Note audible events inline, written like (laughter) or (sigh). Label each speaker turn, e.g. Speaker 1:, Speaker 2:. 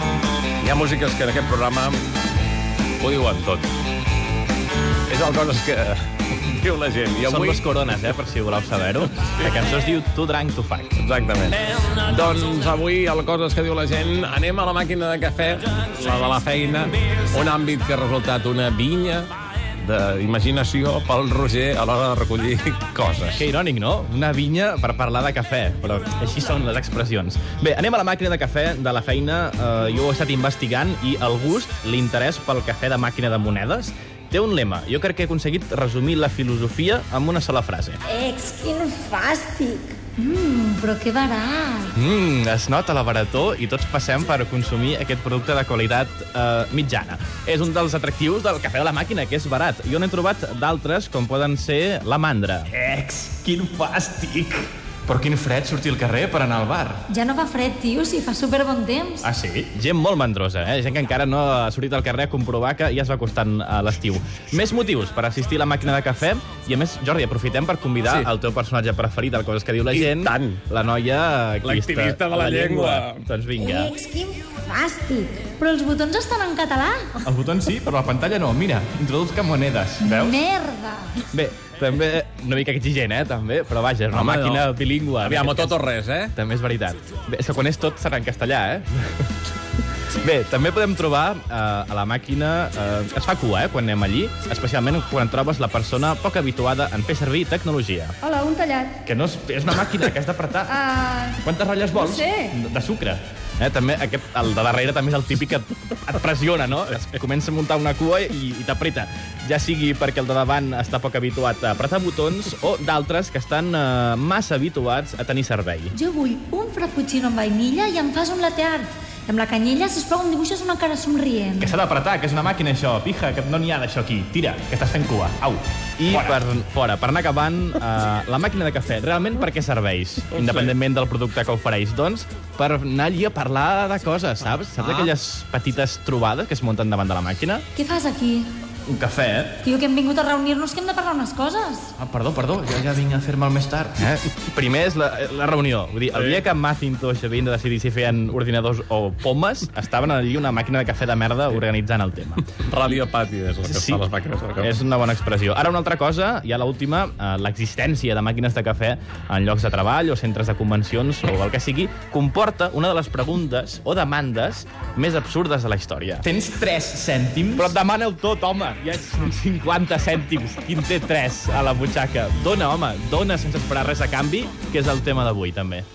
Speaker 1: Hi ha músiques que en aquest programa ho diuen tot. És el coses que (laughs) diu la gent. I
Speaker 2: Són
Speaker 1: avui...
Speaker 2: les corones, eh, per si voleu saber-ho. La cançó es diu Tu drank, tu fac.
Speaker 1: Exactament. Doncs avui, el coses que diu la gent, anem a la màquina de cafè, la de la feina, un àmbit que ha resultat una vinya d'imaginació pel Roger a l'hora de recollir (laughs) coses.
Speaker 2: Que irònic, no? Una vinya per parlar de cafè, però així són les expressions. Bé, anem a la màquina de cafè de la feina. Eh, jo ho he estat investigant i el gust, l'interès pel cafè de màquina de monedes, té un lema. Jo crec que he aconseguit resumir la filosofia amb una sola frase.
Speaker 3: Ex, quin fàstic!
Speaker 4: Mmm, però que barat.
Speaker 2: Mmm, es nota la barató i tots passem per consumir aquest producte de qualitat eh, mitjana. És un dels atractius del cafè de la màquina, que és barat. Jo n'he trobat d'altres, com poden ser la mandra. Ex, quin fàstic! Però quin fred sortir al carrer per anar al bar.
Speaker 4: Ja no fa fred, tio, si fa super bon temps.
Speaker 2: Ah, sí? Gent molt mandrosa, eh? Gent que encara no ha sortit al carrer a comprovar que ja es va acostant a l'estiu. Més motius per assistir a la màquina de cafè. I, a més, Jordi, aprofitem per convidar
Speaker 1: Sí.
Speaker 2: sí. el teu personatge preferit, el coses que diu la
Speaker 1: I
Speaker 2: gent.
Speaker 1: tant.
Speaker 2: La noia... activista
Speaker 1: L'activista de la llengua.
Speaker 2: Doncs vinga.
Speaker 3: Ex, quin fàstic!
Speaker 4: Però els botons estan en català.
Speaker 2: Els botons sí, però la pantalla no. Mira, introduzca monedes. Veus?
Speaker 4: Merda.
Speaker 2: Bé, també... Una mica exigent, eh, també. Però vaja, és una
Speaker 1: Home,
Speaker 2: màquina
Speaker 1: no.
Speaker 2: bilingüe.
Speaker 1: Aviam, o tot o res, eh?
Speaker 2: També és veritat. Bé, és que quan és tot serà en castellà, eh? (laughs) Bé, també podem trobar eh, a la màquina... Eh, es fa cua, eh, quan anem allí, especialment quan trobes la persona poc habituada en fer servir tecnologia.
Speaker 5: Hola, un tallat.
Speaker 2: Que no és, és una màquina que has d'apretar.
Speaker 5: Ah,
Speaker 2: Quantes ratlles vols?
Speaker 5: No sé.
Speaker 2: De, de sucre. Eh, també aquest, el de darrere també és el típic que et pressiona, no? Es comença a muntar una cua i, i t'apreta. Ja sigui perquè el de davant està poc habituat a apretar botons o d'altres que estan eh, massa habituats a tenir servei.
Speaker 4: Jo vull un frappuccino amb vainilla i em fas un latte art. I amb la canyella, sisplau, em dibuixes una cara somrient.
Speaker 2: Que s'ha d'apretar, que és una màquina, això. Pija, que no n'hi ha d'això aquí. Tira, que estàs fent cua. Au. I fora. per fora, per anar acabant, eh, la màquina de cafè, realment per què serveix? Independentment del producte que ofereix. Doncs per anar allí a parlar de coses, saps? Saps aquelles petites trobades que es munten davant de la màquina?
Speaker 4: Què fas aquí?
Speaker 2: Un cafè, eh?
Speaker 4: Tio, que hem vingut a reunir-nos, que hem de parlar unes coses.
Speaker 2: Ah, perdó, perdó, jo ja vinc a fer-me'l més tard. Eh? Primer és la, la reunió. Vull dir, el dia que Macintosh havien de decidir si feien ordinadors o pomes, estaven allí una màquina de cafè de merda organitzant el tema.
Speaker 1: Radiopàtia és el que
Speaker 2: Sí,
Speaker 1: fan les màquines de cafè.
Speaker 2: és una bona expressió. Ara una altra cosa, i a l'última, eh, l'existència de màquines de cafè en llocs de treball o centres de convencions o el que sigui, comporta una de les preguntes o demandes més absurdes de la història. Tens 3 cèntims? Però demana-ho tot, home. Ja són 50 cèntims. Quin té 3 a la butxaca? Dona, home, dona sense esperar res a canvi, que és el tema d'avui, també.